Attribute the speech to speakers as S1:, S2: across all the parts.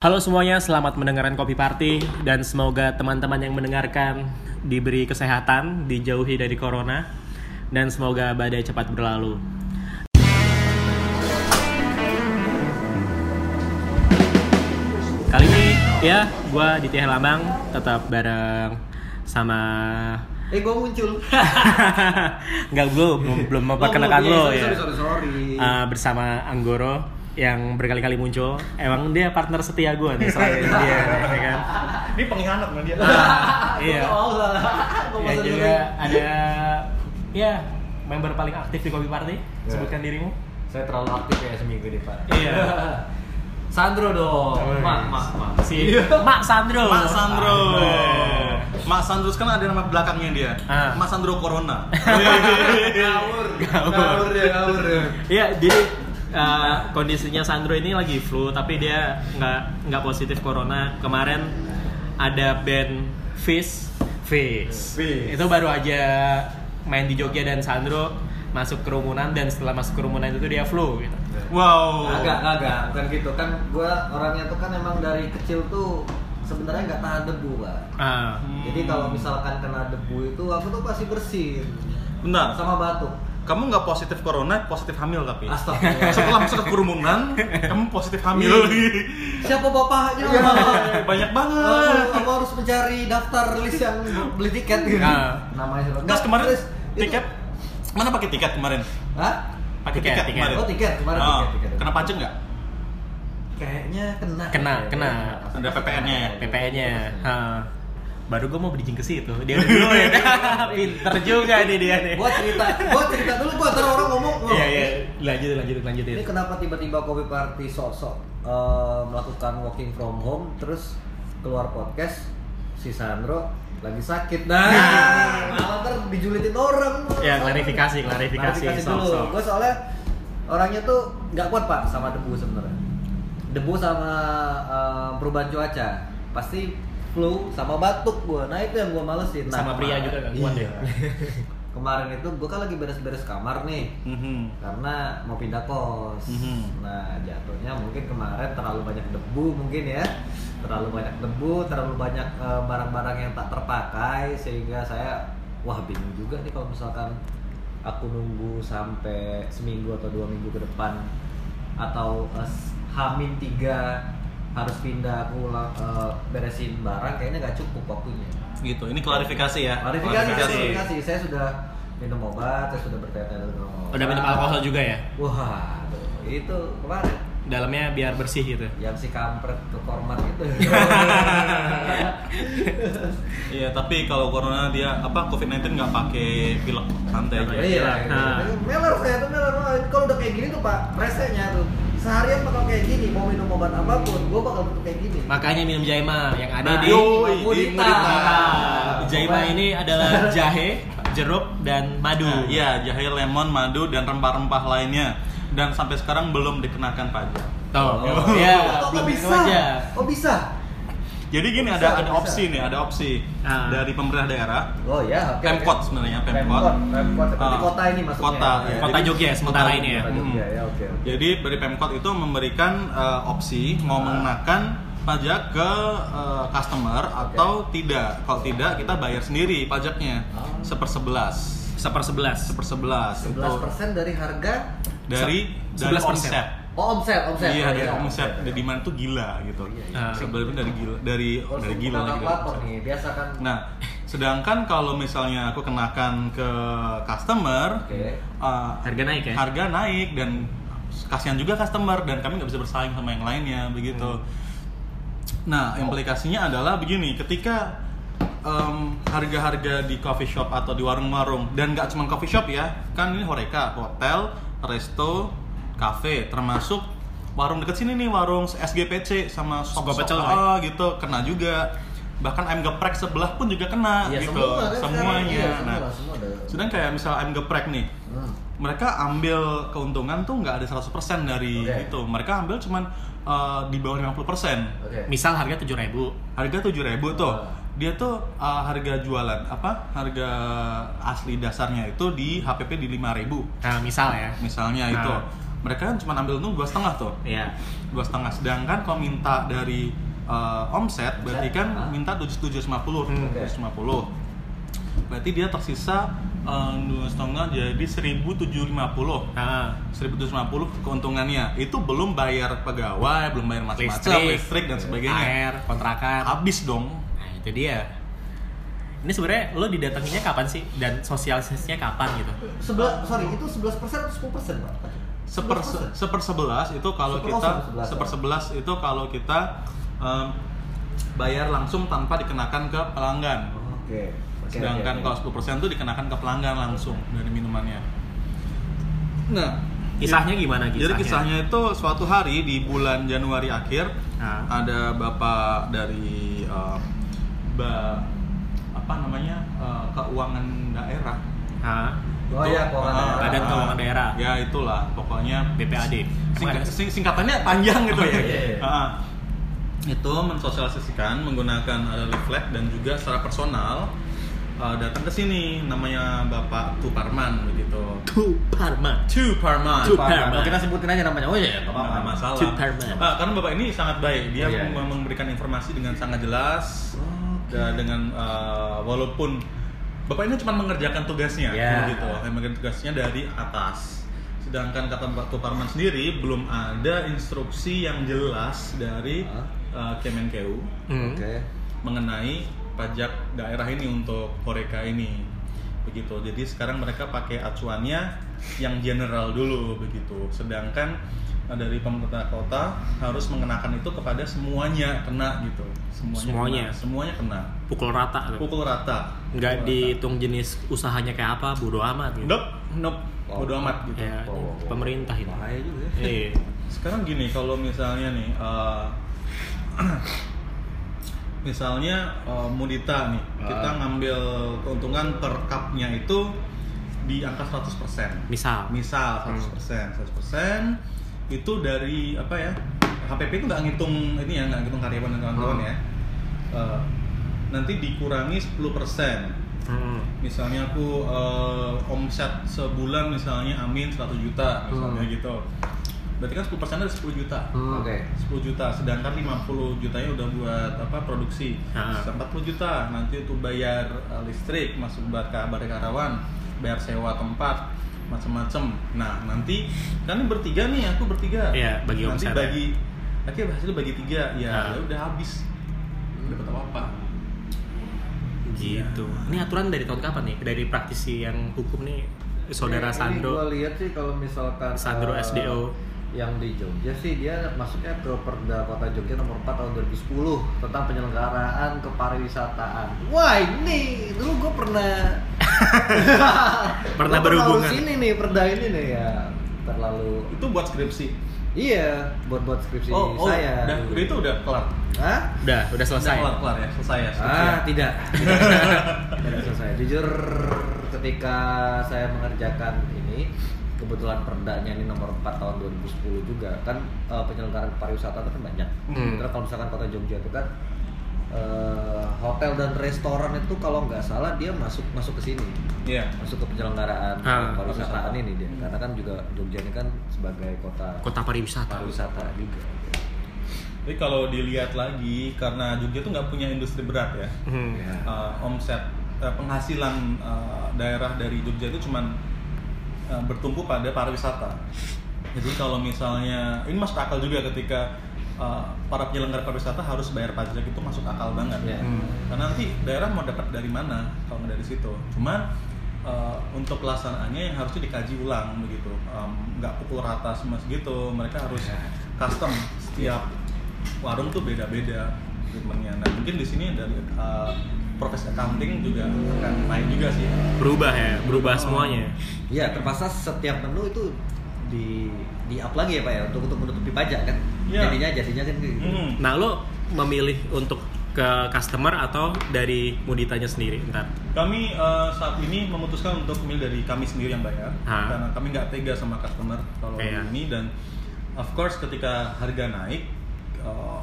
S1: Halo semuanya, selamat mendengarkan Kopi Party dan semoga teman-teman yang mendengarkan diberi kesehatan, dijauhi dari corona dan semoga badai cepat berlalu. Kali ini ya, gua Ditya Lambang tetap bareng sama
S2: Eh gue muncul.
S1: nggak gue belum belum memperkenalkan lo
S2: Oh, iya,
S1: ya
S2: Sorry sorry sorry.
S1: Eh, bersama Anggoro yang berkali-kali muncul emang dia partner setia gue nih selain dia ya kan
S3: Ini pengkhianat sama dia.
S1: iya.
S2: Gua nggak mau lah. Gua
S1: Ya
S2: bosan
S1: juga ada ya member paling aktif di Kopi Party. Sebutkan dirimu.
S3: Saya terlalu aktif ya seminggu ini, Pak.
S1: Iya.
S2: dulu. Sandro dong.
S1: Wes.
S2: Mak mak mak. Iya.
S1: Si Mak Sandro.
S4: Mak Sandro.
S1: Ah.
S4: Mak Sandro kan ada nama belakangnya dia.
S1: Ah.
S4: Mas Sandro Corona.
S2: Ngawur. Ngawur ya ngawur ya.
S1: Iya, jadi eh, kondisinya Sandro ini lagi flu tapi dia nggak nggak positif corona. Kemarin ada band Fish, Fish.
S3: Fish.
S1: Itu baru aja main di Jogja dan Sandro masuk kerumunan dan setelah masuk kerumunan itu dia flu gitu.
S4: wow.
S2: Agak agak bukan gitu kan gue orangnya tuh kan emang dari kecil tuh sebenarnya nggak tahan debu pak.
S1: Ah.
S4: Hmm.
S2: Jadi kalau misalkan kena debu itu aku tuh pasti bersin
S4: Bentar.
S2: sama batuk.
S4: Kamu nggak positif corona, positif hamil tapi.
S2: Astagfirullah.
S4: Setelah masuk ke kerumunan, kamu positif hamil.
S2: Siapa bapaknya?
S4: Iya, banyak
S2: Aku,
S4: banget.
S2: aku harus mencari daftar list yang beli tiket gitu.
S1: Nah.
S2: Namanya siapa?
S4: Terus kemarin
S2: List. Itu-
S4: tiket mana pakai tiket kemarin?
S2: Hah?
S4: Pakai
S1: Tiket,
S4: tiket,
S1: tiket.
S4: kemarin.
S2: Oh, tiket kemarin
S4: Ah,
S2: tiket, tiket.
S4: Kena pajak nggak?
S2: Kayaknya kena.
S1: Kena, kena.
S4: Ada PPN-nya ya?
S1: PPN-nya. Ha. Baru gue mau bridging ke situ. Dia udah duluin. Pinter juga nih dia nih.
S2: Gua cerita, gua cerita dulu gua ntar orang ngomong. "Wah,
S1: Iya iya, lanjut lanjut lanjut
S2: Ini
S1: itu.
S2: kenapa tiba-tiba Kopi Party sosok eh, melakukan working from home terus keluar podcast si Sandro lagi sakit. Nah, malah ntar dijulitin orang.
S1: Ya klarifikasi klarifikasi.
S2: Klarifikasi
S1: sok,
S2: dulu.
S1: sok.
S2: Gue soalnya orangnya tuh nggak kuat pak sama debu sebenarnya. Debu sama eh, perubahan cuaca pasti flu sama batuk gue. Nah itu yang gue malesin. Nah,
S1: Sama pria
S2: kemarin-
S1: juga ya? gangguan
S2: Iya.
S1: deh.
S2: Kemarin itu gue kan lagi beres-beres kamar nih
S4: Mhm.
S2: karena mau pindah kos.
S4: Mhm.
S2: Nah, jatuhnya mungkin kemarin terlalu banyak debu mungkin ya. Terlalu banyak debu, terlalu banyak eh, barang-barang yang tak terpakai sehingga saya wah bingung juga nih kalau misalkan aku nunggu sampai seminggu atau dua minggu ke depan atau eh, s- hamin tiga harus pindah aku ulang, eh, beresin barang kayaknya nggak cukup waktunya.
S4: Gitu. Ini klarifikasi ya.
S2: Klarifikasi, klarifikasi. Saya sudah minum obat, saya sudah bertanya dengan obat.
S1: Udah minum alkohol juga ya?
S2: Wah, tuh, itu kemarin
S1: Dalamnya biar bersih gitu.
S2: yang si kampret ke kormat itu.
S4: Iya, tapi kalau corona dia apa COVID-19 nggak pakai pilek santai aja.
S2: Iya,
S1: Nah.
S2: meler saya tuh meler. Wah, Kalau udah kayak gini tuh pak, resenya tuh seharian bakal kayak gini. Mau minum obat apapun, gue bakal bentuk kayak gini.
S1: Makanya minum Jaima yang ada
S2: Nah,
S1: di
S4: yoi, di
S2: Murita.
S4: Murita.
S1: Jaima ini adalah jahe, jeruk dan madu.
S4: Nah, Iya, jahe, lemon, madu, dan rempah-rempah lainnya. Dan sampai sekarang belum dikenakan pajak.
S1: Tuh.
S2: Oh,
S1: Ya,
S4: Iya.
S2: kok
S1: belum
S2: bisa?
S1: minum aja.
S2: Oh bisa?
S4: Jadi gini
S2: Bisa,
S4: ada ada
S2: bisa.
S4: opsi nih, ada opsi
S1: Ah.
S4: dari pemerintah daerah,
S2: Oh ya, oke.
S4: Pemkot sebenarnya, Pemkot.
S2: Pemkot, seperti
S4: Ah,
S2: kota ini maksudnya.
S4: kota,
S2: Ya,
S1: Kota
S2: jadi-
S1: Jogja sementara ini ya.
S2: Kota
S4: Hmm.
S2: Jogja, ya oke. oke.
S4: Jadi dari Pemkot itu memberikan eh, opsi mau
S2: Ah.
S4: mengenakan pajak ke eh, customer atau tidak. Kalau tidak kita bayar sendiri pajaknya
S2: Ah.
S4: sepersebelas.
S1: Sepersebelas.
S4: Sepersebelas itu
S2: 11% dari harga
S4: dari dari
S1: 11%.
S4: omset.
S2: Oh omset, omset.
S4: Iya,
S2: Oh,
S4: dari omset dari demand tuh gila gitu.
S2: Iya, Oh, iya.
S4: Nah, Sebelumnya dari gila dari
S2: Kalau
S4: dari
S2: saya
S4: gila
S2: bukan
S4: lagi. dari
S2: kalkulator
S4: omset.
S2: nih, biasa kan.
S4: Nah, sedangkan kalau misalnya aku kenakan ke customer,
S2: Oke.
S4: eh,
S1: Harga naik ya?
S4: harga naik dan kasihan juga customer dan kami nggak bisa bersaing sama yang lainnya begitu.
S2: Hmm.
S4: Nah, implikasinya adalah begini, ketika em, harga-harga di coffee shop atau di warung-warung dan nggak cuma coffee shop ya, kan ini horeca, hotel, resto, kafe, termasuk warung deket sini nih warung SGPC sama
S1: Sop
S4: sop-sop
S1: pecel,
S4: ah,
S2: ya.
S4: gitu kena juga bahkan ayam geprek sebelah pun juga kena
S2: Iya,
S4: gitu
S2: semua kan sekarang.
S4: semuanya
S2: Iya,
S4: nah
S2: semua, semua ada.
S4: sedang kayak misal ayam geprek nih
S2: Hmm.
S4: mereka ambil keuntungan tuh nggak ada 100% dari
S2: Oke.
S4: itu mereka ambil cuman eh, di bawah 50%
S2: Oke.
S1: Misal harga 7000.
S4: harga 7000 tuh
S2: Ah.
S4: dia tuh eh, harga jualan apa harga asli dasarnya itu di HPP di 5000
S1: Nah, misal ya.
S4: misalnya
S1: Nah.
S4: itu mereka kan cuma ambil untung dua setengah tuh
S1: Iya.
S4: dua setengah sedangkan kalau minta dari eh, omset berarti kan
S2: Hah?
S4: minta tujuh tujuh
S1: Hmm.
S4: berarti dia tersisa eh, dua setengah jadi seribu tujuh lima puluh
S1: Ah,
S4: 1750 keuntungannya itu belum bayar pegawai, belum bayar macam-macam
S1: Listrik.
S4: listrik, dan sebagainya.
S1: Air, kontrakan.
S4: Habis dong.
S1: Nah, itu dia. Ini sebenarnya lo didatanginnya kapan sih dan sosialisasinya kapan gitu?
S2: Sebelas, sorry itu 11% atau 10% pak?
S4: Seper
S2: 11%.
S4: seper 11 itu kalau
S2: Seper-
S4: kita
S2: oh, seper-
S4: seper 11 itu kalau kita em, bayar langsung tanpa dikenakan ke pelanggan.
S2: Oke. Oke,
S4: Sedangkan
S2: oke, oke.
S4: kalau 10% itu dikenakan ke pelanggan langsung dari minumannya. Nah,
S1: Kisahnya gimana kisahnya?
S4: Jadi kisahnya itu suatu hari di bulan Januari akhir
S1: Ah.
S4: ada bapak dari eh, ba- apa namanya eh, keuangan daerah.
S1: Ah,
S2: Oh
S4: Itu,
S2: iya, keuangan
S4: eh,
S2: daerah.
S1: Badan Keuangan Daerah.
S4: Ya itulah pokoknya
S1: BPAD. Emang
S4: Singkat-
S1: ada?
S4: sing- singkatannya panjang gitu
S1: Oh,
S4: ya.
S1: iya,
S2: iya, iya.
S4: Ah. itu mensosialisasikan menggunakan ada leaflet dan juga secara personal eh, datang ke sini namanya Bapak Tuparman begitu.
S1: Tu Parma.
S4: Tuparman.
S1: Tu-
S2: Paham,
S1: Superman.
S2: Pak. kita sebutin aja namanya. Oh iya,
S4: Nggak
S2: nggak
S1: Nah,
S2: apa-apa.
S4: masalah.
S1: Superman.
S4: Ah, karena bapak ini sangat baik, dia
S2: Iya,
S4: mem-
S2: iya.
S4: memberikan informasi dengan sangat jelas dan dengan eh, walaupun bapak ini cuma mengerjakan tugasnya,
S1: Iya.
S4: gitu, yang mengerjakan tugasnya dari atas. Sedangkan kata Pak Tuparman sendiri belum ada instruksi yang jelas dari
S2: Ah.
S4: eh, Kemenkeu
S1: Hmm.
S2: Oke.
S4: mengenai pajak daerah ini untuk Horeca ini begitu jadi sekarang mereka pakai acuannya yang general dulu begitu sedangkan eh, dari pemerintah kota harus mengenakan itu kepada semuanya kena gitu semuanya
S1: Semuanya.
S4: kena, semuanya kena
S1: Pukul rata. tuh.
S4: pukul rata
S1: Nggak
S4: Pukul rata.
S1: dihitung jenis usahanya kayak apa, bodo amat gitu.
S4: nope nope bodo amat gitu
S1: Ya,
S2: Oh.
S1: pemerintah itu.
S2: Bahaya juga.
S1: Iya.
S2: ya.
S4: sekarang gini kalau misalnya nih eh, misalnya eh, mudita nih kita
S2: Ah.
S4: ngambil keuntungan per cupnya itu di angka 100%
S1: Misal.
S4: misal 100% 100% itu dari apa ya HPP itu nggak ngitung ini ya nggak ngitung karyawan dan kawan-kawan
S2: Hmm.
S4: ya Eh, nanti dikurangi 10%
S1: Hmm.
S4: misalnya aku eh, omset sebulan misalnya amin 100 juta misalnya
S2: Hmm.
S4: gitu berarti kan 10 dari 10 juta
S2: Hmm, Oke.
S4: 10 juta sedangkan 50 jutanya udah buat apa produksi
S1: Ah.
S4: 40 juta nanti untuk bayar eh, listrik masuk buat kabar karyawan bayar sewa tempat macem-macem nah nanti kan ini bertiga nih aku bertiga
S1: Iya, bagi
S4: nanti
S1: omset ya.
S4: bagi akhirnya hasilnya bagi tiga ya
S1: Ah.
S4: udah habis dapat apa apa
S1: Gitu.
S2: Iya.
S1: Ini aturan dari tahun kapan nih? Dari praktisi yang hukum nih, saudara
S2: Ini- Ini
S1: Sandro.
S2: gue lihat sih kalau misalkan
S1: Sandro
S2: eh,
S1: SDO.
S2: yang di Jogja sih dia masuknya ke Perda Kota Jogja nomor 4 tahun 2010 tentang penyelenggaraan kepariwisataan. Wah ini dulu gue pernah
S1: Pernah
S2: Gua
S1: berhubungan.
S2: urus ini nih perda ini nih ya terlalu
S4: itu buat skripsi
S2: iya buat buat skripsi
S4: oh, oh
S2: saya.
S4: udah, udah itu udah kelar
S2: Hah?
S1: Udah, udah selesai.
S4: Udah kelar-kelar ya, selesai ya.
S2: Ah, tidak. Tidak selesai. Jujur ketika saya mengerjakan ini kebetulan perdanya ini nomor 4 tahun 2010 juga kan eh, penyelenggaraan pariwisata itu kan banyak.
S1: Hmm.
S2: Terus kalau misalkan kota Jogja itu kan eh, hotel dan restoran itu kalau nggak salah dia masuk masuk ke sini
S4: Iya.
S2: masuk ke penyelenggaraan
S1: Ah.
S2: pariwisataan ini dia karena kan juga Jogja ini kan sebagai kota
S1: Kota pariwisata.
S2: pariwisata juga
S4: Tapi kalau dilihat lagi karena Jogja tuh nggak punya industri berat ya.
S1: Hmm.
S2: Ya.
S4: Eh, omset eh, penghasilan eh, daerah dari Jogja itu cuman eh, bertumpu pada pariwisata. Jadi kalau misalnya ini masuk akal juga ketika eh, para penyelenggara pariwisata harus bayar pajak itu masuk akal banget
S2: Iya.
S1: Hmm.
S4: karena Nah, nanti daerah mau dapat dari mana kalau nggak dari situ cuman eh, untuk pelaksanaannya yang harusnya dikaji ulang begitu Em, nggak pukul rata semua segitu mereka harus custom setiap warung tuh beda-beda treatmentnya nah mungkin di sini dari eh, proses accounting juga akan naik juga sih
S1: Berubah ya, berubah
S2: Oh.
S1: semuanya.
S2: Iya, terpaksa setiap menu itu di di up lagi ya pak ya untuk untuk menutupi pajak kan.
S4: Iya.
S2: Jadinya jadinya kan kayak gitu.
S4: Hmm.
S1: Nah, lo memilih untuk ke customer atau dari muditanya sendiri ntar?
S4: Kami eh, saat ini memutuskan untuk memilih dari kami sendiri yang bayar
S1: Ah.
S4: karena kami nggak tega sama customer kalau
S1: Iya.
S4: ini dan of course ketika harga naik eh,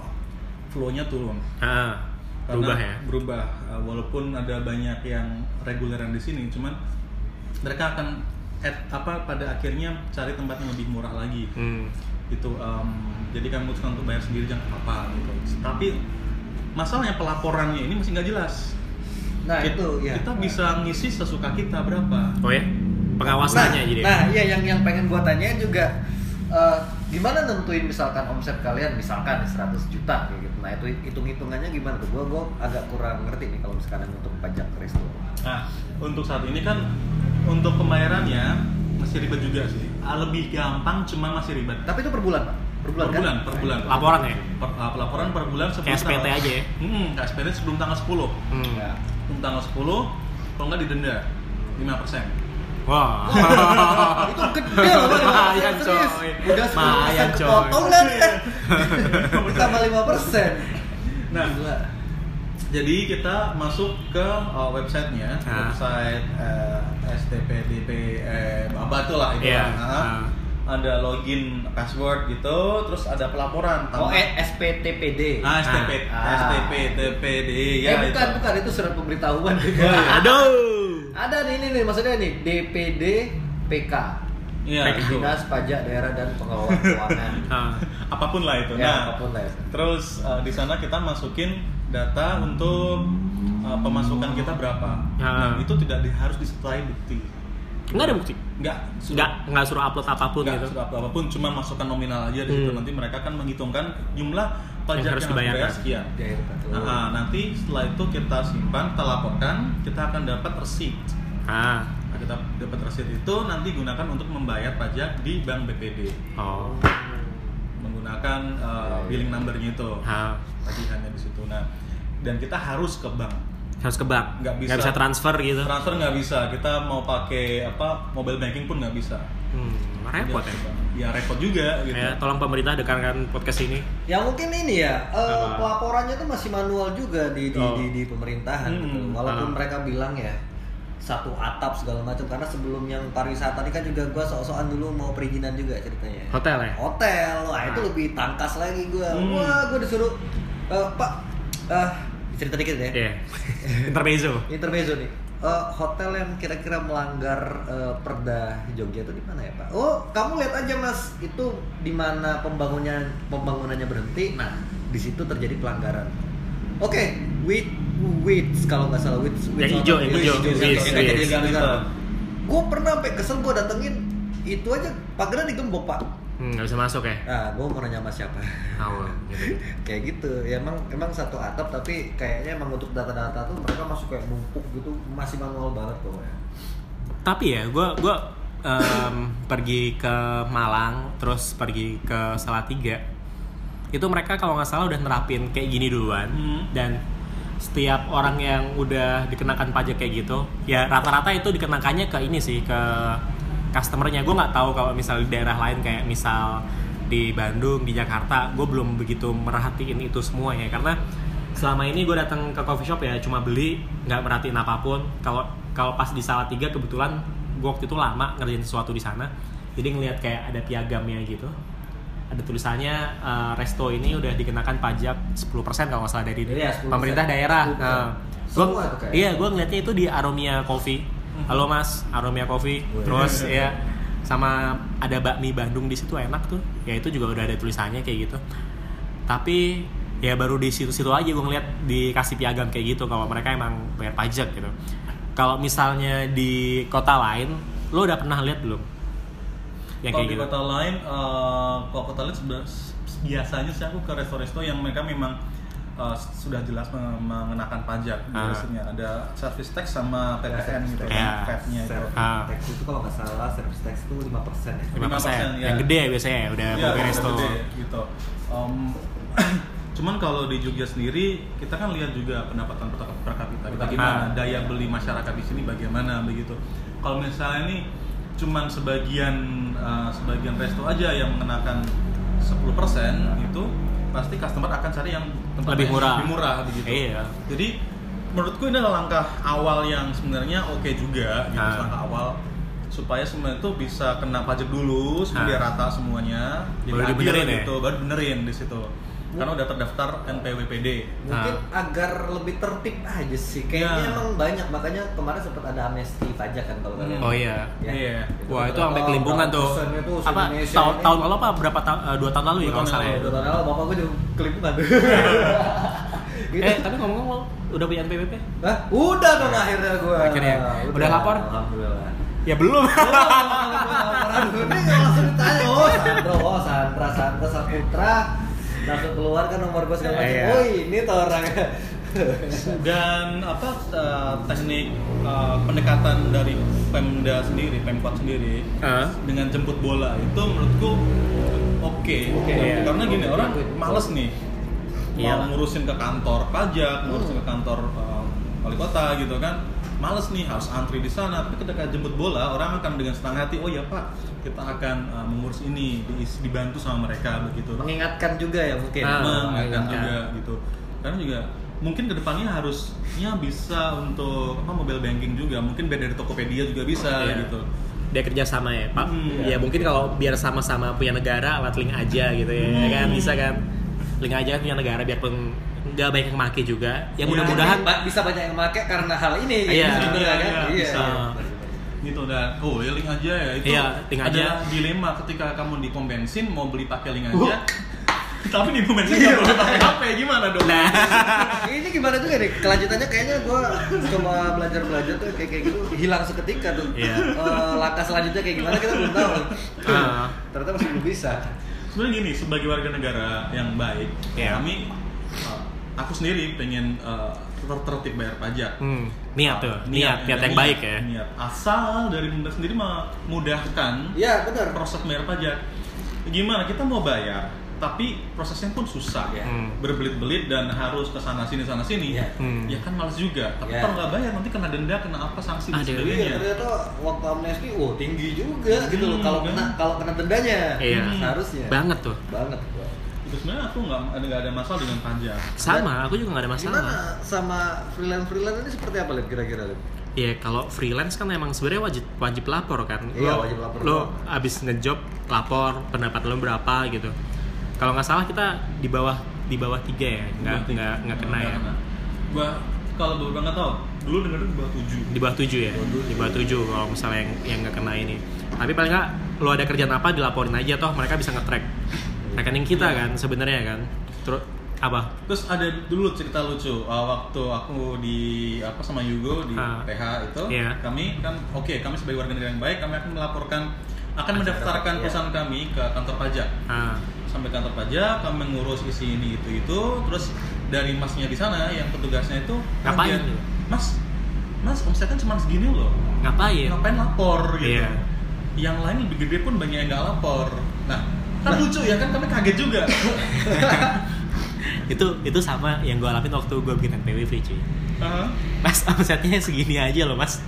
S4: flow-nya turun
S1: Ah,
S4: Karena
S1: berubah ya.
S4: berubah Eh, walaupun ada banyak yang reguleran di sini cuman mereka akan at- apa pada akhirnya cari tempat yang lebih murah lagi
S1: Hmm.
S4: gitu em, jadi kamu memutuskan untuk bayar sendiri jangan apa-apa gitu tapi masalahnya pelaporannya ini masih nggak jelas
S2: Nah,
S4: Kit-
S2: itu ya.
S4: kita bisa ngisi sesuka kita berapa
S1: Oh ya? Pengawasannya
S2: nah,
S1: jadi. ya?
S2: Nah, iya yang yang pengen gua tanya juga eh, gimana nentuin misalkan omset kalian misalkan 100 juta kayak gitu. Nah, itu hitung-hitungannya gimana tuh? Gua gua agak kurang ngerti nih kalau misalkan untuk pajak ke restoran.
S4: nah untuk saat ini kan untuk pembayarannya masih ribet juga sih Ah, lebih gampang cuman masih ribet
S2: Tapi itu per bulan, Pak. Per bulan,
S4: per
S2: kan?
S4: bulan per bulan
S1: Laporan ya?
S4: Per- ah, pelaporan per bulan sebelum
S1: Kayak SPT
S4: tanggal-
S1: aja ya?
S4: Hmm, kayak SPT sebelum tanggal 10
S1: Hmm.
S4: Iya.
S2: Ya.
S4: sebelum tanggal 10 kalau nggak didenda 5%
S1: Wah.
S4: Iya,
S2: itu gede loh, Pak.
S1: Mayan,
S2: Serius.
S1: coy.
S2: Udah 10%
S1: Mayan, coy.
S2: kepotongan kan. Tambah 5%.
S4: Nah.
S2: Gila.
S4: Jadi kita masuk ke uh, websitenya,
S1: Ah.
S4: website eh, STPDP eh, apa tuh lah itu
S1: Iya.
S4: lah. Ah.
S1: Ah.
S4: Ada login password gitu, terus ada pelaporan.
S2: Oh,
S4: tambah-
S2: eh, SPTPD.
S4: Ah, STP,
S2: Ah.
S4: STPDPD ya
S2: eh, bukan,
S4: itu. Oh,
S2: bukan itu surat pemberitahuan.
S4: iya.
S1: Aduh.
S2: Ada nih ini nih maksudnya nih DPD PK
S4: Iya, itu.
S2: Dinas Pajak Daerah dan Pengelolaan Keuangan.
S1: Ah.
S4: Apapun lah itu.
S2: ya
S4: nah,
S2: apapun lah. ya.
S4: terus uh, di sana kita masukin data untuk uh, pemasukan kita berapa.
S1: Ah.
S4: Nah, itu tidak di- harus disertai bukti.
S1: Nggak ada bukti.
S4: Enggak,
S1: Nggak nggak suruh upload apapun
S4: nggak
S1: gitu.
S4: sudah apapun cuma masukkan nominal aja di situ
S1: Hmm.
S4: nanti mereka kan menghitungkan jumlah pajak yang
S1: harus
S4: harus
S1: dibayarkan.
S4: dibayar sekian
S2: Daerah itu.
S4: Nah, ah, nanti setelah itu kita simpan kita laporkan kita akan dapat receipt
S1: Ah.
S4: nah, kita dapat receipt itu nanti gunakan untuk membayar pajak di bank BPD
S1: Oh.
S4: menggunakan uh, billing numbernya itu
S1: Ah.
S4: tagihannya di situ nah dan kita harus ke bank
S1: Harus ke bank.
S4: Nggak bisa.
S1: transfer gitu.
S4: transfer nggak bisa kita mau pakai apa mobile banking pun nggak bisa
S1: Hmm, repot ya.
S4: ya repot juga gitu
S1: Ya, tolong pemerintah dengarkan podcast ini.
S2: Ya mungkin ini ya eh,
S1: Apa?
S2: pelaporannya tuh masih manual juga di di,
S1: Oh.
S2: di, di pemerintahan
S4: Hmm,
S2: gitu. Walaupun
S1: ah.
S2: mereka bilang ya satu atap segala macam karena sebelum yang pariwisata ini kan juga gua sok-sokan dulu mau perizinan juga ceritanya.
S1: Hotel ya?
S2: Hotel. Wah, itu
S1: Ah.
S2: lebih tangkas lagi gua.
S4: Hmm.
S2: Wah, gua disuruh eh, Pak eh cerita dikit ya.
S1: Iya. Intermezzo.
S2: Intermezzo nih. Eh, hotel yang kira-kira melanggar eh, perda Jogja itu di mana ya Pak? Oh, kamu lihat aja Mas, itu di mana pembangunan pembangunannya berhenti. Nah, di situ terjadi pelanggaran. Oke, wait, wait kalau nggak salah wait, wait
S1: Yang hijau, yang hijau. Which, which.
S2: Gue pernah sampai kesel gue datengin itu aja pagarnya digembok Pak.
S1: Hmm, nggak bisa masuk ya.
S4: Iya.
S2: Nah, gue mau nanya sama siapa?
S1: Awal. Gitu.
S2: kayak gitu ya emang emang satu atap tapi kayaknya emang untuk data-data tuh mereka masih kayak numpuk gitu masih manual banget ya. pokoknya
S1: Tapi ya, gue gua em, pergi ke Malang, terus pergi ke Salatiga. Itu mereka kalau nggak salah udah nerapin kayak gini duluan.
S4: Hmm.
S1: Dan setiap orang yang udah dikenakan pajak kayak gitu, ya rata-rata itu dikenakannya ke ini sih ke customernya. Gue nggak tahu kalau misal di daerah lain kayak misal di Bandung, di Jakarta, gue belum begitu merhatiin itu semua ya karena selama ini gue datang ke coffee shop ya cuma beli nggak merhatiin apapun kalau kalau pas di Salatiga kebetulan gue waktu itu lama ngerjain sesuatu di sana jadi ngelihat kayak ada piagamnya gitu ada tulisannya eh, resto ini udah dikenakan pajak 10% kalau nggak salah dari
S2: Iya, 10%.
S1: pemerintah daerah nah, gua-
S2: Semua tuh kayak.
S1: iya gue ngelihatnya itu di Aromia Coffee halo mas Aromia Coffee
S2: Wih.
S1: terus ya sama ada bakmi Bandung di situ enak tuh ya itu juga udah ada tulisannya kayak gitu tapi ya baru di situ-situ aja gue ngeliat dikasih piagam kayak gitu kalau mereka emang bayar pajak gitu kalau misalnya di kota lain lo udah pernah lihat belum yang
S4: kalau
S1: kayak
S4: di
S1: gitu
S4: kota lain, eh, kalau kota lain sebe- biasanya sih aku ke resto-resto yang mereka memang eh, sudah jelas meng- mengenakan pajak
S1: Ah.
S4: biasanya ada service tax sama PPN gitu kan,
S1: Ya.
S4: VAT-nya itu.
S2: Service
S1: Ah.
S2: tax itu kalau nggak salah service tax itu 5% ya
S1: 5%,
S4: 5%, ya.
S1: yang gede ya biasanya ya, udah
S4: Iya,
S1: buka
S4: udah
S1: resto
S4: gede, gitu. Em, cuman kalau di Jogja sendiri kita kan lihat juga pendapatan per, per kapita kita gimana,
S1: Ah.
S4: daya beli masyarakat di sini bagaimana begitu. Kalau misalnya nih cuman sebagian eh, sebagian resto aja yang mengenakan 10% itu pasti customer akan cari yang
S1: Iya.
S4: tempat
S1: Lebih
S4: yang
S1: murah.
S4: lebih murah begitu.
S1: Iya.
S4: Jadi menurutku ini adalah langkah awal yang sebenarnya oke juga gitu
S1: Ah.
S4: langkah awal supaya semua itu bisa kena pajak dulu,
S1: Ah.
S4: semua dia rata semuanya, jadi
S1: Baru
S4: adil
S1: dibenerin ya?
S4: gitu, baru benerin di situ. karena udah terdaftar NPWPD.
S2: mungkin
S1: Nah.
S2: agar lebih tertib aja sih kayaknya
S1: Iya.
S4: Ya.
S2: emang banyak makanya kemarin sempat ada amnesti pajak kan kalau kalian
S1: Oh iya.
S2: Ya.
S4: Iya.
S1: Wah itu sampai
S2: berapa
S1: kelimpungan tuh.
S2: persennya tuh
S1: Apa
S2: se-Indonesia
S1: tahun
S2: ini.
S1: tahun lalu apa berapa tahun eh, dua tahun lalu ya
S4: Dua
S1: kalau
S4: tahun
S1: nggak salah ya?
S2: Dua tahun lalu bapak gue juga kelimpungan tuh gitu.
S1: Eh tapi ngomong-ngomong lo udah punya NPWP?
S2: Hah? udah dong akhirnya gue
S1: Akhirnya. Udah lapor?
S2: alhamdulillah
S1: Ya belum.
S2: ini langsung ditanya oh Sandro oh Sandra Sandra Saputra langsung keluar kan nomor gue segala macam
S1: Iya.
S2: oh ini tuh orangnya
S4: Dan apa eh, teknik eh, pendekatan dari Pemda sendiri, Pemkot sendiri
S1: Eh,
S4: dengan jemput bola itu menurutku oke
S2: Oke,
S1: iya.
S4: karena gini orang males nih
S1: Iya. Hmm.
S4: mau ngurusin ke kantor pajak ngurusin ke kantor eh, wali kota gitu kan males nih harus antri di sana tapi ketika jemput bola orang akan dengan senang hati oh ya pak kita akan eh, mengurus ini diisi- dibantu sama mereka begitu
S2: mengingatkan juga ya mungkin
S1: Ah, kan.
S4: mengingatkan
S1: mengingatkan.
S4: juga gitu karena juga mungkin kedepannya harusnya bisa untuk apa mobile banking juga mungkin biar dari Tokopedia juga bisa
S1: Iya.
S4: gitu
S1: dia kerja sama ya Pak.
S4: Hmm,
S1: ya mungkin kalau biar sama-sama punya negara alat link aja gitu ya, ya kan bisa kan. Link aja kan punya negara biar peng nggak banyak yang make juga. Ya
S4: Iya,
S1: mudah-mudahan
S2: Ba- bisa banyak yang make karena hal ini gitu
S1: Iya.
S2: sebenarnya
S4: Iya,
S2: kan
S4: iya, bisa.
S2: Iya.
S4: gitu dan oh ya link aja ya itu
S1: Iya, link aja.
S4: adalah dilema ketika kamu di pom bensin mau beli pakai link
S1: Uh.
S4: aja tapi di pom bensin nggak boleh pakai HP gimana dong
S1: Iya. Nah.
S2: ini gimana juga nih kelanjutannya kayaknya gue coba belajar belajar tuh kayak kayak gitu hilang seketika tuh
S1: Iya.
S2: Eh, langkah selanjutnya kayak gimana kita belum tahu
S1: Ah.
S2: ternyata masih belum bisa
S4: sebenarnya gini sebagai warga negara yang baik
S1: Iya.
S4: kami uh, aku sendiri pengen uh, ter- tertib bayar pajak
S1: hmm, niat tuh, niat, niat yang baik ya.
S4: niat asal dari pemerintah sendiri memudahkan
S2: ya benar
S4: proses bayar pajak. Gimana kita mau bayar, tapi prosesnya pun susah ya,
S1: Hmm.
S4: berbelit-belit dan harus ke sana sini sana sini.
S2: Ya.
S1: Hmm.
S4: Ya kan males juga. Tapi
S2: Ya.
S4: kalau nggak bayar nanti kena denda, kena apa sanksi dan
S1: Aduh.
S4: sebagainya.
S2: Iya, ternyata waktu amnesti, wah tinggi juga gitu loh.
S4: Hmm,
S2: Kalau
S4: kan.
S2: kena kalau kena dendanya, Hmm.
S1: Iya.
S2: harusnya
S1: Banget tuh.
S2: banget. gua.
S4: Itu sebenarnya aku nggak ada nggak ada masalah dengan pajak.
S1: Sama, aku juga nggak ada masalah.
S2: Gimana sama freelance freelance ini seperti apa Lip, kira-kira Lip?
S1: Ya kalau freelance kan emang sebenarnya wajib wajib lapor kan.
S2: Iya,
S1: Lo-
S2: wajib lapor.
S1: Lo abis ngejob lapor pendapat lo berapa gitu. Kalau nggak salah kita di bawah di bawah tiga ya, nggak
S4: Berarti
S1: nggak nggak kena ya.
S4: Gua kalau beberapa nggak tahu, dulu denger di bawah tujuh.
S1: Di bawah tujuh ya, di bawah tujuh kalau misalnya yang yang nggak kena ini. Tapi paling nggak lo ada kerjaan apa dilaporin aja toh mereka bisa nge-track rekening kita
S2: Iya.
S1: kan sebenarnya kan. Terus apa?
S4: Terus ada dulu cerita lucu uh, waktu aku di apa sama Yugo di
S1: Ah.
S4: PH itu,
S1: Iya.
S4: kami kan oke kami sebagai warga negara yang baik kami akan melaporkan akan mendaftarkan
S2: iya.
S4: perusahaan kami ke kantor pajak
S1: Ah,
S4: sampai kantor pajak kami mengurus isi ini itu itu terus dari masnya di sana yang petugasnya itu
S1: Ngapain?
S4: kemudian, mas mas omset kan cuma segini loh
S1: ngapain?
S2: Iya.
S4: ngapain lapor gitu
S1: Iya.
S4: yang lain lebih gede pun banyak yang nggak lapor nah kan lucu ya kan kami kaget juga
S1: itu itu sama yang gue alamin waktu gue bikin NPWP cuy.
S4: Hah?
S1: Mas omsetnya segini aja loh mas.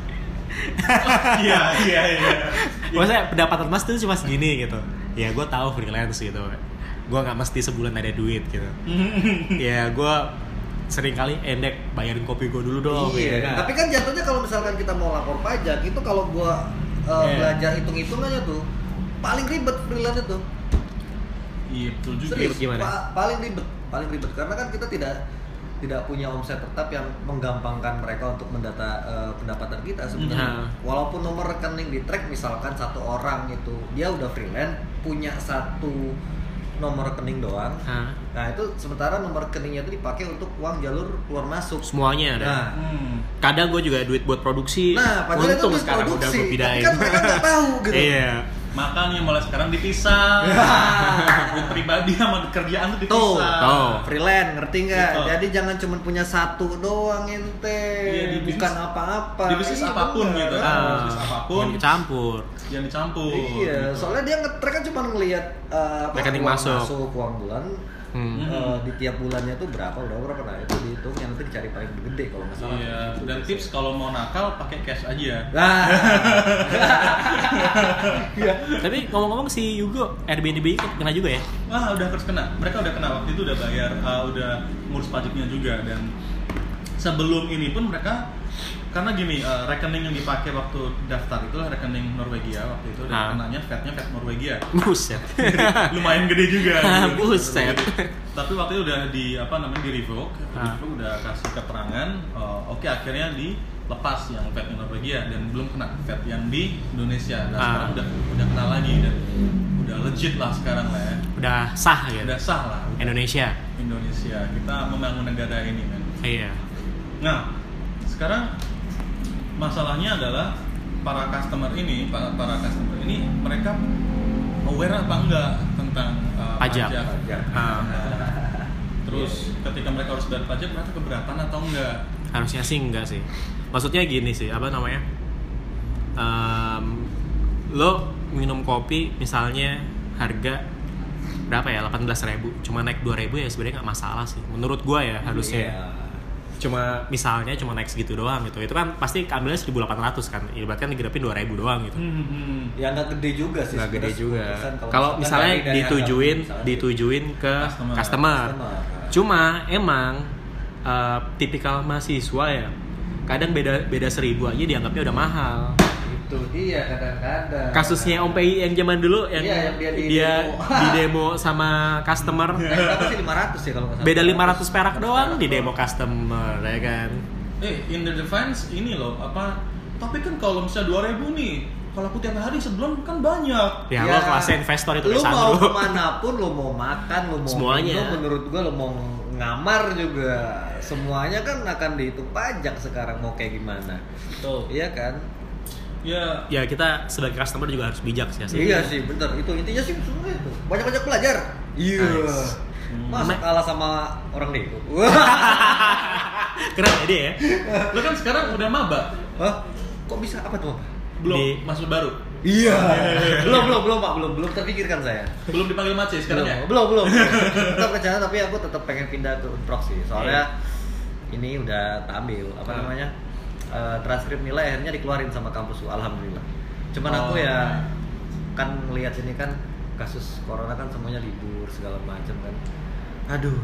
S4: iya iya iya
S1: Maksudnya pendapatan mas tuh cuma segini gitu. Ya gue tahu freelance gitu. Gue nggak mesti sebulan ada duit gitu.
S4: Iya,
S2: Hmm.
S1: ya gue sering kali endek bayarin kopi gue dulu dong.
S2: iya,
S1: gitu.
S2: Tapi kan jatuhnya kalau misalkan kita mau lapor pajak itu kalau gua eh,
S1: Iya.
S2: belajar hitung-hitungannya tuh paling ribet freelance itu.
S4: iya betul juga
S1: Serius? gimana?
S2: pa- paling ribet, paling ribet karena kan kita tidak tidak punya omset tetap yang menggampangkan mereka untuk mendata eh, pendapatan kita sebenarnya.
S1: Nah.
S2: Walaupun nomor rekening di track misalkan satu orang itu dia udah freelance punya satu nomor rekening doang.
S1: Hah?
S2: Nah, itu sementara nomor rekeningnya itu dipakai untuk uang jalur keluar masuk.
S1: Semuanya ada.
S2: Nah,
S4: Hmm.
S1: Kadang gue juga duit buat produksi.
S2: Nah, padahal itu
S1: Untung
S2: duit
S1: Oh, sekarang udah
S2: produksi.
S1: gue
S2: Tapi
S1: pindahin.
S2: kan mereka nggak tahu gitu.
S1: Iya.
S4: makanya mulai sekarang dipisah Duit pribadi sama kerjaan tuh
S2: Tuh,
S4: dipisah
S1: tuh.
S2: freelance ngerti nggak?
S4: Ah. Betul.
S2: Jadi jangan cuma punya satu doang ente,
S4: Iya, di bisnis-
S2: bukan apa-apa.
S4: di bisnis
S2: Iya,
S4: apapun
S2: bener.
S4: gitu.
S2: Ah.
S1: Ah,
S4: Bisnis apapun.
S1: jangan dicampur.
S4: jangan dicampur
S2: Iya,
S4: gitu.
S2: soalnya dia ngetrek kan cuma ngelihat eh, apa,
S1: Rekening
S2: uang
S1: masuk.
S2: uang bulan
S1: Hmm.
S2: eh, di tiap bulannya tuh berapa, udah berapa nah itu dihitung yang nanti dicari paling gede kalau nggak salah. Gitu
S4: iya dan tips kalau mau nakal pakai cash aja
S2: Nah,
S1: Tapi ngomong-ngomong si Yugo Airbnb kena juga ya?
S4: wah Ah, udah harus kena mereka udah kena waktu itu udah bayar ah, udah ngurus pajaknya juga dan sebelum ini pun mereka karena gini eh, rekening yang dipakai waktu daftar itu rekening Norwegia waktu itu dan
S1: Ah.
S4: kenanya fatnya fat Norwegia
S1: Buset.
S4: lumayan gede juga gitu.
S1: Buset.
S4: tapi waktu itu udah di apa namanya di revoke
S1: Ah.
S4: Revoke udah kasih keterangan eh, oke akhirnya dilepas yang fat di Norwegia dan belum kena fat yang di Indonesia nah
S1: Ah.
S4: sekarang udah udah kena lagi dan udah legit lah sekarang lah ya
S1: Udah sah gitu.
S4: udah sah lah udah
S1: Indonesia.
S4: Indonesia kita membangun negara ini men
S1: Iya.
S4: Nah, sekarang masalahnya adalah para customer ini, para, para customer ini mereka aware apa enggak tentang uh,
S1: Pajak.
S2: Pajak.
S1: Ah.
S4: Nah, terus ketika mereka harus bayar pajak, mereka keberatan atau enggak?
S1: harusnya sih enggak sih maksudnya gini sih apa namanya Em, lo minum kopi misalnya harga berapa ya 18.000 cuma naik 2.000 ya sebenarnya nggak masalah sih menurut gua ya harusnya
S2: Iya.
S1: cuma misalnya cuma naik segitu doang gitu itu kan pasti ambilnya 1.800 kan ibaratkan digrepin 2.000 doang gitu
S2: Ya nggak gede juga sih.
S1: nggak gede
S2: sebenarnya
S1: juga
S2: 10%
S1: kalau misalnya
S2: dari- dari harga
S1: ditujuin
S2: misalnya.
S1: ditujuin ke
S4: Customer.
S1: customer,
S2: Customer.
S1: cuma emang eh, tipikal mahasiswa ya kadang beda beda seribu aja dianggapnya udah mahal
S2: Itu dia kadang-kadang.
S1: kasusnya Om Pei yang zaman dulu yang,
S2: Iya, yang dia di demo.
S1: di demo sama customer
S2: Eh, berapa sih 500 ya kalau nggak salah?
S1: beda 500 perak
S2: 500
S1: doang di demo customer ya kan
S4: Eh, in the defense ini loh apa? Tapi kan kalau misalnya 2000 nih, kalau aku tiap hari sebulan kan banyak.
S1: ya, lo kelasnya investor itu
S2: lu
S1: kayak
S2: mau
S1: Sandro.
S2: kemanapun lu mau makan lu mau
S1: Semuanya.
S2: minum, menurut gua lu mau ngamar juga semuanya kan akan dihitung pajak sekarang mau kayak gimana
S4: Betul.
S2: iya kan
S4: Ya,
S1: ya kita sebagai customer juga harus bijak sih asli. ya.
S2: iya sih bener itu intinya sih sebenarnya itu banyak banyak belajar iya
S1: Nice.
S2: masa
S1: Ma-
S2: kalah sama orang deh
S1: keren ya dia ya
S4: lo kan sekarang udah maba,
S2: Hah? kok bisa apa tuh Pak?
S4: belum
S1: Di-
S4: masuk baru.
S2: iya belum belum belum pak belum belum terpikirkan saya
S4: Belum dipanggil Mace sekarang
S2: belum,
S4: ya?
S2: belum belum tetap rencana tapi aku tetap pengen pindah ke unprok sih soalnya ini udah tak ambil apa
S4: Ah.
S2: namanya eh, transkrip nilai akhirnya dikeluarin sama kampusku alhamdulillah cuman aku
S4: Oh.
S2: ya kan melihat ini kan kasus corona kan semuanya libur segala macam kan aduh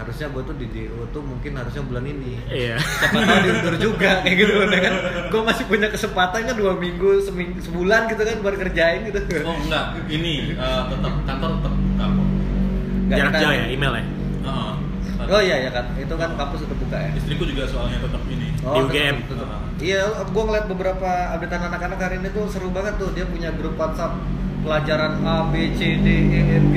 S2: harusnya gue tuh di DO tuh mungkin harusnya bulan ini
S1: iya
S2: siapa tahu diundur juga kayak gitu loh, kan gue masih punya kesempatan kan dua minggu seminggu sebulan gitu kan buat kerjain gitu
S4: Oh enggak, ini eh, tetap kantor tetap buka kok.
S2: Nggak
S1: jarak
S2: kita-
S1: jauh ya email ya
S4: Heeh.
S2: Oh iya ya kan, itu kan kampus udah buka ya.
S4: Istriku juga soalnya tetap ini.
S1: Di
S2: tetep,
S1: UGM.
S2: tetep.
S4: Ah.
S2: Iya, gue ngeliat beberapa updatean anak-anak hari ini tuh seru banget tuh. Dia punya grup WhatsApp pelajaran A B C D E F G.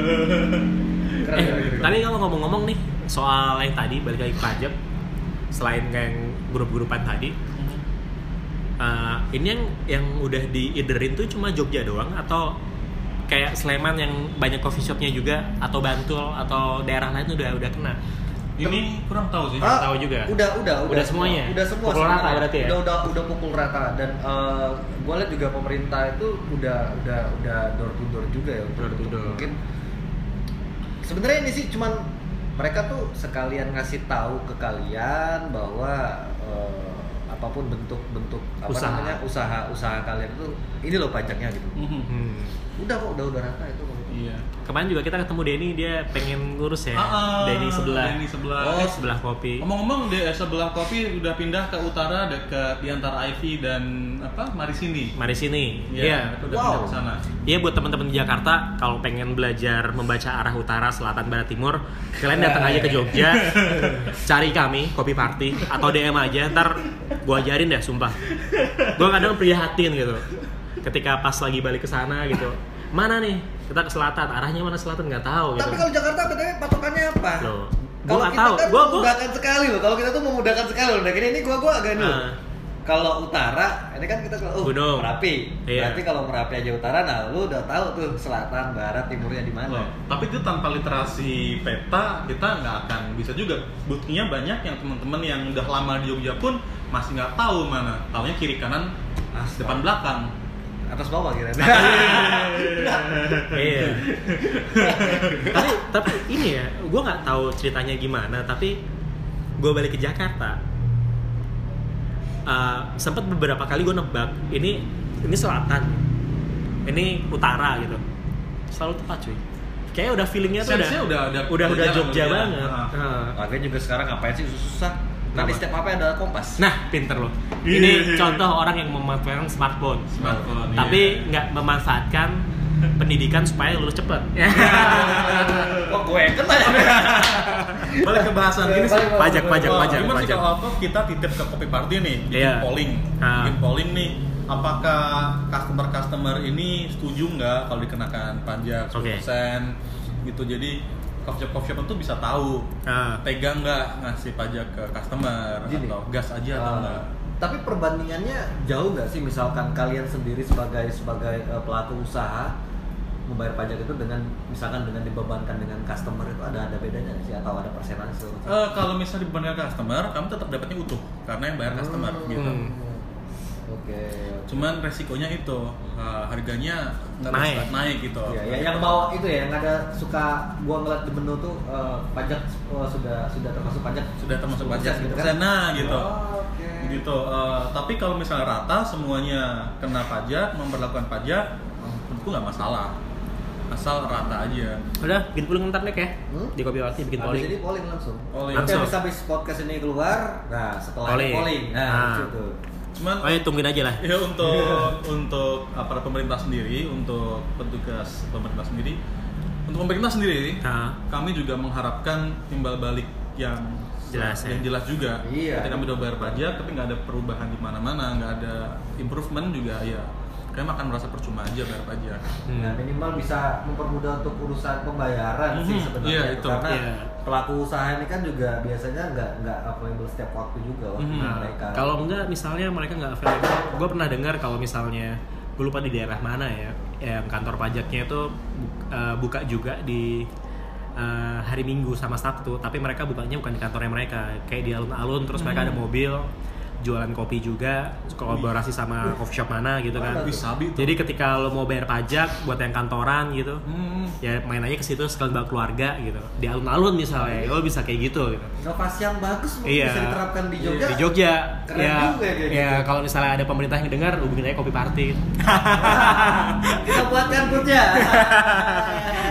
S2: Keren.
S1: Eh,
S2: keren, keren.
S1: tapi kalau ngomong-ngomong nih soal yang tadi balik lagi ke pajak, selain kayak yang grup-grupan tadi, eh, ini yang yang udah diiderin tuh cuma Jogja doang atau kayak Sleman yang banyak coffee shopnya juga atau Bantul atau daerah lain tuh udah udah kena.
S4: Ini kurang tahu sih.
S1: Ah. tahu juga.
S2: Udah, udah, udah.
S1: Udah semuanya?
S2: Udah semua.
S1: Pukul rata
S2: sebenarnya.
S1: berarti ya?
S2: Udah, udah, udah pukul rata dan gue lihat juga pemerintah itu udah, udah, udah door to door juga ya. untuk-
S1: Door to door.
S2: Mungkin sebenarnya ini sih cuman mereka tuh sekalian ngasih tahu ke kalian bahwa eh, apapun bentuk-bentuk apa
S1: Usaha.
S2: namanya usaha-usaha kalian itu ini loh pajaknya gitu.
S4: Mhm.
S1: Hmm.
S2: Udah kok, udah udah rata itu.
S4: Iya.
S1: Kemarin juga kita ketemu Denny dia pengen ngurus ya.
S4: Ah, ah,
S1: Denny sebelah.
S4: Denny sebelah.
S1: Oh, sebelah kopi.
S4: Ngomong-ngomong di eh, sebelah kopi udah pindah ke utara dekat di antara Ivy dan apa Marisini.
S1: Mari sini. Iya.
S4: mereka udah
S2: Wow.
S4: pindah ke sana.
S1: Iya buat teman-teman di Jakarta kalau pengen belajar membaca arah utara, selatan, barat, timur, kalian datang aja ke Jogja, cari kami Kopi Party atau DM aja, ntar gua ajarin deh, sumpah. Gua kadang prihatin gitu, ketika pas lagi balik ke sana gitu, mana nih? Kita ke selatan, arahnya mana selatan nggak tahu gitu.
S2: Tapi kalau Jakarta betulnya patokannya apa?
S1: Loh, gua
S2: Kalau
S1: nggak
S2: kita
S1: tahu.
S2: kan
S1: Gua- gua-
S2: memudahkan sekali loh. Kalau kita tuh memudahkan sekali loh. Nah, gini, ini gua gua agak dulu.
S1: Ah.
S2: Kalau utara, ini kan kita kalau oh,
S1: Gunung.
S2: Merapi.
S1: Iya.
S2: Berarti kalau Merapi aja utara, nah lu udah tahu tuh selatan, barat, timurnya di mana.
S1: Oh.
S4: Loh, tapi itu tanpa literasi peta kita nggak akan bisa juga. Buktinya banyak yang teman-teman yang udah lama di Jogja pun masih nggak tahu mana. Taunya kiri kanan, ah,
S2: Astaga.
S4: depan belakang.
S2: Atas bawah kira
S1: Nah, Iya. tapi, tapi ini ya, gua nggak tahu ceritanya gimana, tapi gua balik ke Jakarta. sempat beberapa kali gue nebak ini ini selatan ini utara gitu selalu tepat cuy kayaknya Iya, udah feelingnya tuh udah
S4: Sense-nya udah- udah-
S1: udah,
S4: udah
S1: udah
S4: jalan, ya.
S1: Jogja
S4: udah jalan.
S2: Nah,
S1: banget
S4: Ah.
S1: Heeh.
S2: Lagian juga sekarang ngapain sih susah?
S5: Nanti setiap HP ada kompas.
S1: Nah, pinter loh.
S4: Iya,
S1: Ini
S4: iya, iya.
S1: contoh orang yang memanfaatkan smartphone.
S4: Smartphone, iya.
S1: Tapi nggak memanfaatkan pendidikan supaya lulus cepat.
S4: Iya.
S5: Kok gue yang kena ya?
S4: balik ke bahasan ini sih.
S1: pajak, pajak,
S4: Wah,
S1: pajak,
S4: gimana sih
S1: pajak.
S4: kalau apa kita titip ke kopi party nih bikin
S1: Iya.
S4: polling
S1: Ah.
S4: bikin polling nih apakah customer customer ini setuju nggak kalau dikenakan pajak 10%
S1: Oke.
S4: gitu jadi coffee shop coffee shop itu bisa tahu
S1: Ah.
S4: tega Nah, nggak ngasih pajak ke customer
S2: Gini.
S4: atau gas aja atau
S2: Uh,
S4: nggak
S2: tapi perbandingannya jauh nggak sih misalkan kalian sendiri sebagai sebagai uh, pelaku usaha membayar pajak itu dengan misalkan dengan dibebankan dengan customer itu ada ada bedanya nggak sih atau ada persentase?
S4: Eh, kalau misalnya dibebankan ke customer kamu tetap dapatnya utuh karena yang bayar customer gitu
S1: Hmm.
S2: Oke.
S4: cuman resikonya itu eh, harganya nggak
S1: Naik.
S4: bisa naik gitu
S2: Ya, ya, yang bawa itu ya yang ada suka gua ngeliat di menu tuh uh, pajak uh, sudah sudah termasuk pajak
S4: sudah termasuk
S2: 10%
S4: pajak
S2: gitu
S4: gitu
S2: kan?
S4: nah gitu
S2: Oh, Oke.
S4: gitu eh, tapi kalau misalnya rata semuanya kena pajak memperlakukan pajak menurutku nggak masalah asal rata aja
S1: Udah, bikin polling ntar nih ya.
S2: Hmm?
S1: Di kopi party bikin polling.
S2: Jadi polling langsung.
S4: Polling.
S2: Nanti
S1: Langsung.
S2: habis habis podcast ini keluar, nah setelah
S1: Polling.
S2: polling, nah,
S1: Nah.
S2: lucu tuh.
S4: cuman
S1: Oh, ya, tungguin aja lah.
S4: ya untuk untuk aparat pemerintah sendiri untuk petugas pemerintah sendiri untuk pemerintah sendiri
S1: Nah,
S4: kami juga mengharapkan timbal balik yang
S1: Jelas, ya.
S4: yang jelas juga
S2: Iya.
S4: ketika kami udah bayar pajak tapi nggak ada perubahan di mana-mana nggak ada improvement juga ya kami akan merasa percuma aja bayar pajak
S1: hmm.
S2: Nah, minimal bisa mempermudah untuk urusan pembayaran sih
S4: Mhm,
S2: sebenarnya
S4: iya,
S2: itu.
S4: itu.
S2: karena
S1: Hmm. Iya.
S2: pelaku usaha ini kan juga biasanya nggak nggak available setiap waktu juga waktu
S4: Mhm.
S1: Ah.
S2: mereka.
S1: Hmm. Kalau enggak misalnya mereka nggak available, gue pernah dengar kalau misalnya gue lupa di daerah mana ya, yang kantor pajaknya itu bu- eh, buka juga di eh, hari Minggu sama Sabtu, tapi mereka bukanya bukan di kantornya mereka, kayak di alun-alun terus mereka ada mobil jualan kopi juga kolaborasi sama coffee shop mana gitu kan.
S4: Wih, sabi tuh.
S1: Jadi ketika lo mau bayar pajak buat yang kantoran gitu,
S4: Hmm.
S1: ya main aja ke situ sekalian bawa keluarga gitu. Di alun-alun misalnya, lo bisa kayak gitu gitu.
S2: inovasi yang bagus mungkin
S1: Iya.
S2: bisa diterapkan di Jogja.
S1: di Jogja
S2: Keren
S1: ya,
S2: juga ya kayak
S1: ya
S2: gitu.
S1: kalau misalnya ada pemerintah yang dengar hubungin aja kopi party
S2: Kita buatkan Jogja.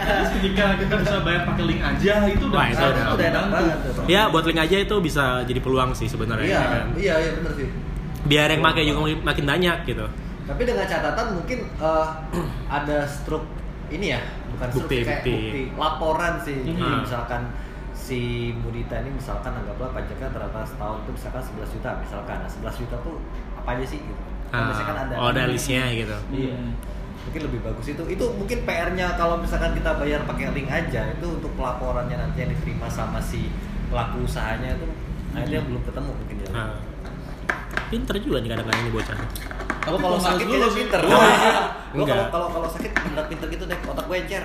S4: Terus ketika kita bisa bayar pakai link aja itu udah
S1: Wah,
S4: Iya.
S1: itu udah-
S2: udah enak banget tuh.
S1: ya buat link aja itu bisa jadi peluang sih sebenarnya
S2: Iya,
S1: ya kan?
S2: iya, iya benar sih.
S1: biar yang pakai juga makin banyak gitu
S2: Tapi dengan catatan mungkin eh, ada struk ini ya, bukan struk
S1: Bukti,
S2: sih, kayak
S1: bukti.
S2: bukti. laporan sih. Jadi
S1: Hmm.
S2: misalkan si Mudita ini misalkan anggaplah pajaknya ternyata setahun itu misalkan 11 juta misalkan. Nah, 11 juta tuh apa aja sih gitu. Kan biasanya kan
S1: Ah, oh ada listnya gitu
S2: Iya.
S4: Hmm.
S2: Mungkin lebih bagus itu. Itu mungkin PR-nya kalau misalkan kita bayar pakai link aja itu untuk pelaporannya nanti yang diterima sama si pelaku usahanya itu akhirnya belum ketemu mungkin ya.
S1: Hmm. Ah. pinter juga nih kadang-kadang ini bocah
S2: Kalau
S4: Tapi
S2: kalau
S4: pemalas
S2: sakit
S4: dulu
S2: dulu
S4: sih.
S2: pinter.
S4: Wah.
S2: Gua
S1: Enggak.
S2: kalau kalau kalau sakit pinter pinter gitu deh otak gue encer.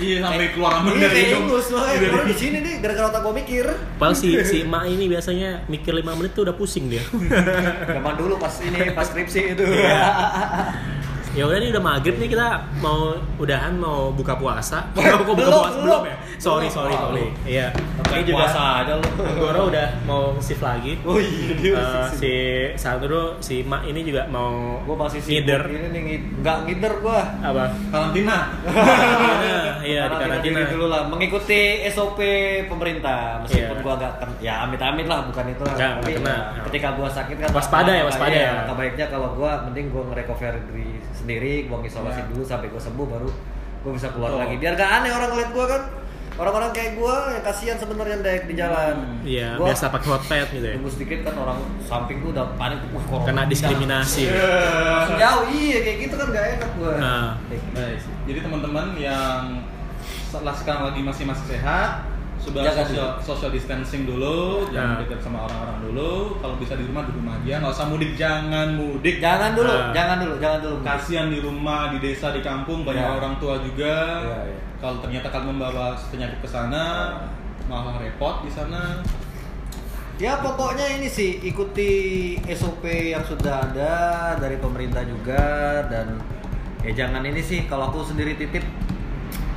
S4: Iya sampai keluar
S2: Iya
S4: rambut dari
S2: kayak
S4: hidung.
S2: ingus loh. eh, Baru di sini nih gara-gara otak gue mikir.
S1: Padahal si, si emak ini biasanya mikir 5 menit tuh udah pusing dia
S2: Zaman dulu pas ini pas skripsi itu.
S1: Ya udah nih udah maghrib nih kita mau udahan mau buka puasa Mau buka puasa belum
S2: belum.
S1: ya? Sorry, sorry, sorry Iya
S2: Kayak
S1: juga-
S2: puasa aja lu.
S1: Goro udah mau shift lagi
S2: Oh iya dia
S1: Eh,
S2: masih
S1: si satu dulu si Mak ini juga mau
S2: Gue masih sibuk
S1: ngider
S2: Ini nih ngid- nggak ngider gue.
S1: apa?
S4: Karantina.
S1: Karantina, iya di karantina.
S2: dulu lah mengikuti SOP pemerintah meskipun
S1: Iya.
S2: gua agak ken- ya amit-amit lah bukan itu lah.
S1: Nggak, nggak kena.
S2: ya, ketika gua sakit kan
S1: Waspada ya,
S2: iya,
S1: waspada ya.
S2: Maka baiknya kalau gua mending gua ngerecover diri sendiri, gua ngisolasi
S4: Iya.
S2: dulu sampai gua sembuh baru gua bisa keluar
S4: Betul.
S2: lagi. Biar gak aneh orang ngeliat gua kan. Orang-orang kayak gua yang kasihan sebenarnya Dek, di jalan.
S1: Iya,
S2: Gua
S1: biasa pakai hot pad gitu ya.
S2: Tunggu sedikit kan orang samping gua udah panik wah corona.
S1: Kena diskriminasi.
S2: Iya. Langsung Jauh iya kayak gitu kan gak enak gua.
S1: Nah.
S2: Dek.
S4: Baik. Jadi teman-teman yang setelah sekarang lagi masih masih sehat, sudah
S2: Jaga
S4: social, social distancing
S1: Nah.
S4: dulu, jangan dekat sama orang-orang dulu. Kalau bisa di rumah di rumah aja, nggak usah mudik, jangan mudik.
S2: Jangan dulu,
S1: Nah.
S2: jangan dulu, jangan dulu.
S4: Kasihan di rumah, di desa, di kampung banyak
S2: Ya.
S4: orang tua juga.
S2: Ya, ya.
S4: Kalau ternyata kalian membawa penyakit ke sana, malah repot di sana.
S2: Ya pokoknya ini sih ikuti SOP yang sudah ada dari pemerintah juga dan ya jangan ini sih kalau aku sendiri titip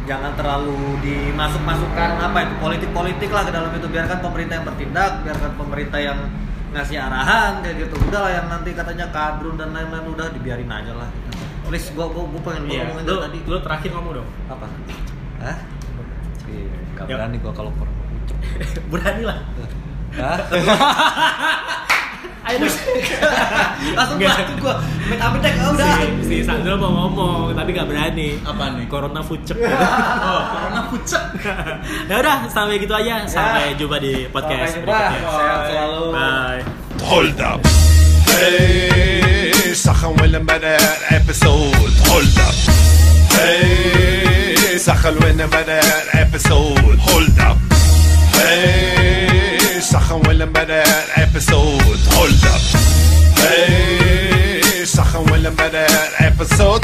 S2: jangan terlalu dimasuk-masukkan apa itu politik-politik lah ke dalam itu biarkan pemerintah yang bertindak biarkan pemerintah yang ngasih arahan kayak gitu udahlah yang nanti katanya kadrun dan lain-lain udah dibiarin aja lah please gua gua, gua pengen
S1: Iya,
S2: ngomongin
S1: lu,
S2: dari tadi
S1: lu terakhir ngomong dong.
S2: apa Hah? Iya, nggak
S1: Ya.
S2: berani gua kalau perlu
S1: Berani lah.
S2: Hah?
S1: Ayo dong.
S2: Langsung
S1: Nggak.
S2: batuk gua. Metamin deh, udah.
S1: si, si Sandro mau ngomong tapi nggak berani.
S4: Apa nih?
S1: Corona fucek.
S4: Oh, karena pucet.
S1: ya udah sampai gitu aja. Sampai jumpa di podcast
S2: Sampai jumpa.
S1: berikutnya.
S2: Sehat selalu.
S1: Bye.
S6: Hold up. Hey, Sachen will better episode. Hold up. Hey, Sachen will better episode. Hold up. Hey, Sachen will better episode. Hold up. Hey, Sachen will better episode.